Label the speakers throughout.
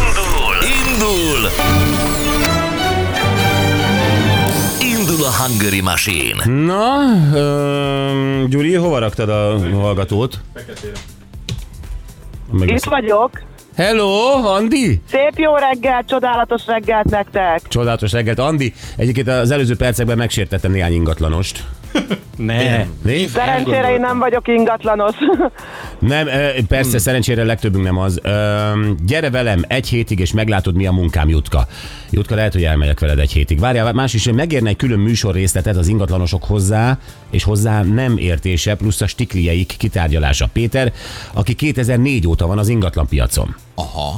Speaker 1: Indul! Indul! Indul a Hungary Machine!
Speaker 2: Na, ö, Gyuri, hova raktad a hallgatót? Feketére.
Speaker 3: Itt vagyok.
Speaker 2: Hello, Andi!
Speaker 3: Szép jó reggelt, csodálatos reggelt nektek.
Speaker 2: Csodálatos reggelt, Andi. Egyébként az előző percekben megsértettem néhány ingatlanost.
Speaker 4: Ne.
Speaker 2: Né?
Speaker 3: Szerencsére én nem vagyok ingatlanos.
Speaker 2: Nem, ö, persze, szerencsére legtöbbünk nem az. Ö, gyere velem egy hétig, és meglátod, mi a munkám, Jutka. Jutka, lehet, hogy elmegyek veled egy hétig. Várjál, más is, megérne egy külön műsor részletet az ingatlanosok hozzá, és hozzá nem értése, plusz a stiklijeik kitárgyalása. Péter, aki 2004 óta van az ingatlanpiacon.
Speaker 4: Aha.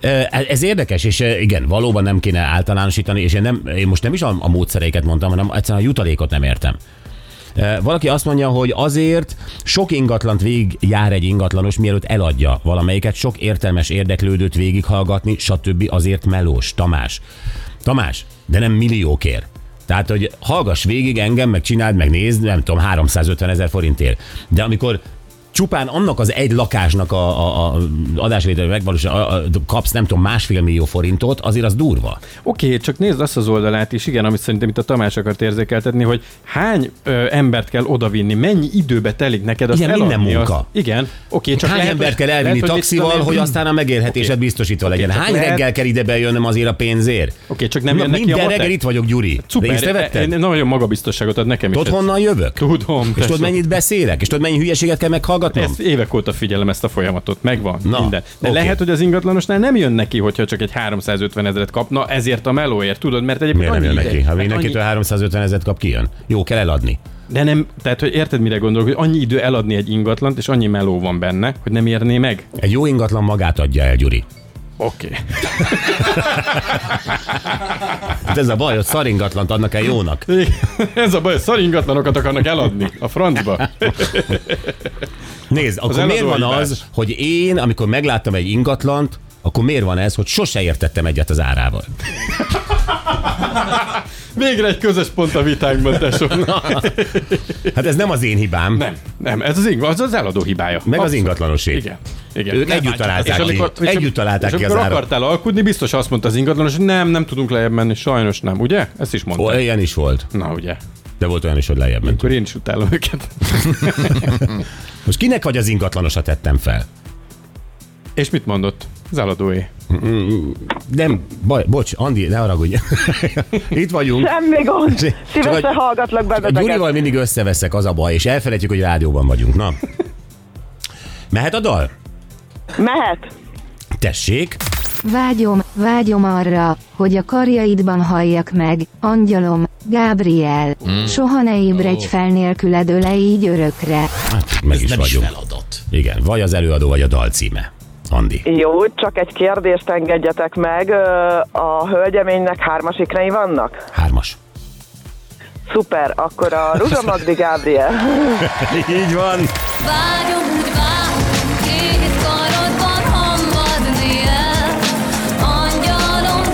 Speaker 2: Ö, Ez érdekes, és ö, igen, valóban nem kéne általánosítani, és én, nem, én most nem is a, a módszereiket mondtam, hanem egyszerűen a jutalékot nem értem. Ö, Valaki azt mondja, hogy azért sok ingatlant végig jár egy ingatlanos, mielőtt eladja valamelyiket, sok értelmes érdeklődőt végighallgatni, stb. azért melós. Tamás. Tamás, de nem milliókért. Tehát, hogy hallgass végig engem, meg csináld, meg nézd, nem tudom, 350 ezer forintért. De amikor csupán annak az egy lakásnak a, a, a adásvételő megvalósul, a, a, kapsz nem tudom másfél millió forintot, azért az durva.
Speaker 4: Oké, okay, csak nézd azt az oldalát is, igen, amit szerintem itt a Tamás akart érzékeltetni, hogy hány ö, embert kell odavinni, mennyi időbe telik neked azt
Speaker 2: Igen,
Speaker 4: eladni.
Speaker 2: minden munka.
Speaker 4: Azt. Igen, oké, okay, csak
Speaker 2: Csak Hány
Speaker 4: lehet,
Speaker 2: lehet, embert kell elvinni lehet,
Speaker 4: lehet,
Speaker 2: taxival, hogy, aztán a megélhetésed okay. biztosítva legyen?
Speaker 4: csak
Speaker 2: Hány
Speaker 4: lehet-
Speaker 2: reggel kell ide bejönnöm azért a pénzért?
Speaker 4: Oké, csak nem
Speaker 2: Na,
Speaker 4: jön neki a
Speaker 2: Minden
Speaker 4: matek.
Speaker 2: reggel itt vagyok, Gyuri. Szuper,
Speaker 4: Szuper,
Speaker 2: Részt
Speaker 4: e- e- nagyon magabiztosságot ad nekem is.
Speaker 2: Tudod,
Speaker 4: ez.
Speaker 2: honnan jövök?
Speaker 4: Tudom.
Speaker 2: És
Speaker 4: persze.
Speaker 2: tudod, mennyit beszélek? És tudod, mennyi hülyeséget kell meghallgatnom?
Speaker 4: ezt évek óta figyelem ezt a folyamatot, megvan
Speaker 2: Na,
Speaker 4: Na, minden. De
Speaker 2: oké.
Speaker 4: okay. lehet, hogy az ingatlanosnál nem jön neki, hogyha csak egy 350 ezeret kapna, ezért a melóért, tudod, mert egyébként
Speaker 2: Miért nem jön
Speaker 4: annyi
Speaker 2: neki?
Speaker 4: ideig-
Speaker 2: Ha
Speaker 4: hát annyi-
Speaker 2: mindenkitől 350 ezeret kap, kijön. Jó, kell eladni.
Speaker 4: De nem, tehát hogy érted, mire gondolok, hogy annyi idő eladni egy ingatlant, és annyi meló van benne, hogy nem érné meg?
Speaker 2: Egy jó ingatlan magát adja el, Gyuri.
Speaker 4: Oké. Okay.
Speaker 2: Hát ez a baj, hogy szar ingatlant adnak el jónak.
Speaker 4: Ez a baj, szar ingatlanokat akarnak eladni a francba.
Speaker 2: Nézd, akkor
Speaker 4: eladó
Speaker 2: miért van
Speaker 4: hibás.
Speaker 2: az, hogy én, amikor megláttam egy ingatlant, akkor miért van ez, hogy sose értettem egyet az árával?
Speaker 4: Végre egy közös pont a vitánkban, tesóm.
Speaker 2: Hát ez nem az én hibám,
Speaker 4: Nem, nem, ez az, ing- az, az eladó hibája.
Speaker 2: meg az
Speaker 4: Abszolút.
Speaker 2: ingatlanosé.
Speaker 4: Igen. Igen.
Speaker 2: Ők
Speaker 4: Nem
Speaker 2: együtt
Speaker 4: bántják.
Speaker 2: találták
Speaker 4: És
Speaker 2: ki.
Speaker 4: és
Speaker 2: Együtt találták
Speaker 4: és
Speaker 2: ki az
Speaker 4: amikor
Speaker 2: árat.
Speaker 4: akartál alkudni, biztos azt mondta az ingatlanos, hogy nem, nem tudunk lejjebb menni, sajnos nem, ugye? Ezt is mondta.
Speaker 2: Ó, ilyen is volt,
Speaker 4: Na, ugye?
Speaker 2: de volt olyan is, hogy lejjebb ment.
Speaker 4: Akkor én is utálom őket.
Speaker 2: Most kinek vagy az ingatlanosat tettem fel?
Speaker 4: és mit mondott? Az eladóé.
Speaker 2: Nem, baj, bocs, Andi, ne haragudj. Itt vagyunk.
Speaker 3: Semmi gond.
Speaker 2: Csak
Speaker 3: Szívesen
Speaker 2: hogy-
Speaker 3: hallgatlak
Speaker 2: A
Speaker 3: benneteket.
Speaker 2: Gyurival mindig összeveszek, az a baj, és elfelejtjük, hogy rádióban vagyunk. Na. Mehet a dal?
Speaker 3: Mehet?
Speaker 2: Tessék.
Speaker 5: Vágyom, vágyom arra, hogy a karjaidban halljak meg, angyalom, Gábriel. Soha ne ébredj fel nélküled, öle így örökre.
Speaker 2: Hát, meg is
Speaker 6: nem
Speaker 2: vagyunk.
Speaker 6: is feladat.
Speaker 2: Igen, vagy az előadó, vagy a dal címe. Andi.
Speaker 3: Jó, csak egy kérdést engedjetek meg. Ö, A hölgyeménynek hármas ikrei vannak?
Speaker 2: Hármas.
Speaker 3: Szuper, akkor a Ruzsa Magdi Gábriel.
Speaker 2: Így van.
Speaker 7: Vágyom úgy vágyom, két karodban hamvadni el, Angyalom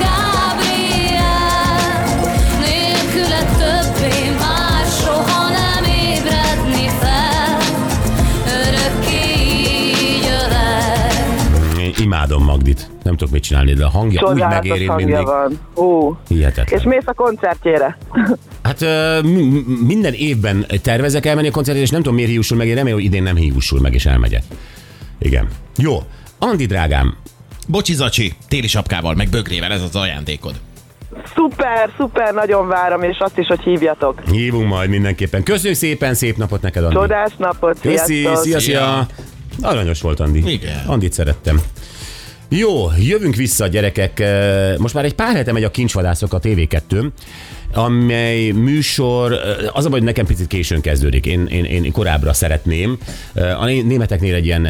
Speaker 7: Gábriel, nélküle többé már soha nem ébredni fel, örökké így ölel.
Speaker 2: Én imádom Magdit. Nem tudok mit csinálni, de a hangja úgy
Speaker 3: Csodálatos
Speaker 2: megérint
Speaker 3: hangja
Speaker 2: mindig.
Speaker 3: van. Hú.
Speaker 2: Hihetetlen.
Speaker 3: És mész a koncertjére?
Speaker 2: Hát ö, mi- mi- minden évben tervezek elmenni a koncertre, és nem tudom miért hiúsul meg, én remélem, hogy idén nem hiúsul meg, és elmegyek. Igen. Jó. Andi drágám,
Speaker 6: Bocsi Zacsi, téli sapkával, meg bögrével, ez az ajándékod.
Speaker 3: Szuper, szuper, nagyon várom, és azt is, hogy hívjatok.
Speaker 2: hívunk majd mindenképpen. Köszönjük szépen, szép napot neked, Andi.
Speaker 3: Csodás napot,
Speaker 2: Köszi,
Speaker 3: sziasztok!
Speaker 2: szia, szia. Aranyos volt Andi.
Speaker 6: Igen.
Speaker 2: Andit szerettem. Jó, jövünk vissza, gyerekek. Most már egy pár hete megy a kincsvadászok a tv 2 amely műsor, az a baj, hogy nekem picit későn kezdődik, én, én, én korábbra szeretném. A né- németeknél egy ilyen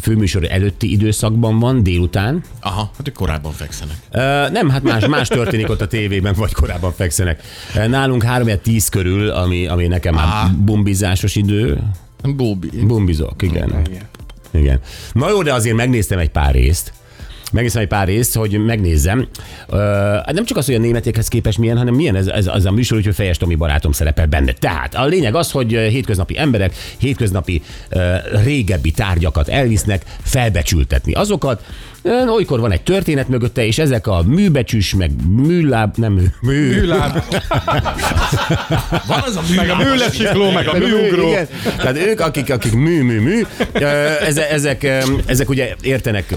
Speaker 2: főműsor előtti időszakban van, délután,
Speaker 6: Aha, hát ők korábban fekszenek.
Speaker 2: Ö, nem, hát más, más történik ott a tévében, vagy korábban fekszenek. Ö, Nálunk 3 10 körül, ami, ami nekem már bumbizásos idő.
Speaker 6: Bóbi.
Speaker 2: Bumbizok, igen. igen. Na jó, de azért megnéztem egy pár részt. Megnéztem egy pár részt, hogy megnézzem. Ö, hát nem csak az, hogy a németekhez képest milyen, hanem milyen ez, ez az a műsor, hogy Fejes Tomi barátom szerepel benne. Tehát a lényeg az, hogy ö, hétköznapi emberek hétköznapi ö, régebbi tárgyakat elvisznek felbecsültetni. Azokat ö, olykor van egy történet mögötte, és ezek a műbecsüs, meg műláb, nem mű, mű,
Speaker 4: Műláb,
Speaker 6: Van az a műláb. Meg a
Speaker 4: műlesikló, meg a
Speaker 2: meg
Speaker 4: műugró.
Speaker 2: igen. Tehát ők, akik, akik mű, mű, mű, ö, eze- ezek, ö, ezek ugye értenek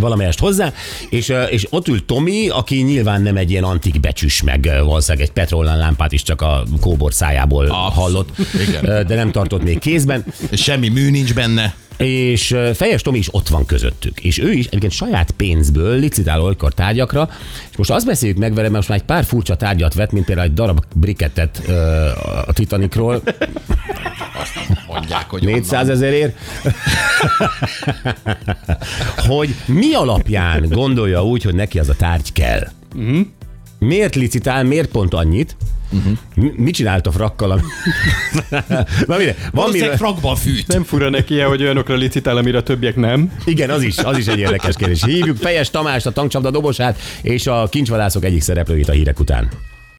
Speaker 2: valamelyest hozzá, és, ö, és ott ül Tomi, aki nyilván nem egy ilyen antik becsüs, meg ö, valószínűleg egy petrollán lámpát is csak a kóbor szájából hallott,
Speaker 6: Igen.
Speaker 2: Ö, de nem tartott még kézben,
Speaker 6: Semmi mű nincs benne.
Speaker 2: és ö, Fejes Tomi is ott van közöttük, és ő is egyébként saját pénzből licitál olykor tárgyakra, és most azt beszéljük meg vele, mert most már egy pár furcsa tárgyat vett, mint például egy darab brikettet ö, a Titanicról,
Speaker 6: Mondják, hogy
Speaker 2: 400 ezerért, hogy mi alapján gondolja úgy, hogy neki az a tárgy kell. Miért licitál, miért pont annyit? Mi- Mit csinált a frakkal? ami- Na mire, van
Speaker 6: Valószínűleg
Speaker 2: miről...
Speaker 6: frakban fűt.
Speaker 4: Nem fura neki -e, hogy olyanokra licitál, amire a többiek nem?
Speaker 2: Igen, az is, az is egy érdekes kérdés. Hívjuk Fejes Tamást, a tankcsapda dobosát, és a kincsvadászok egyik szereplőjét a hírek után.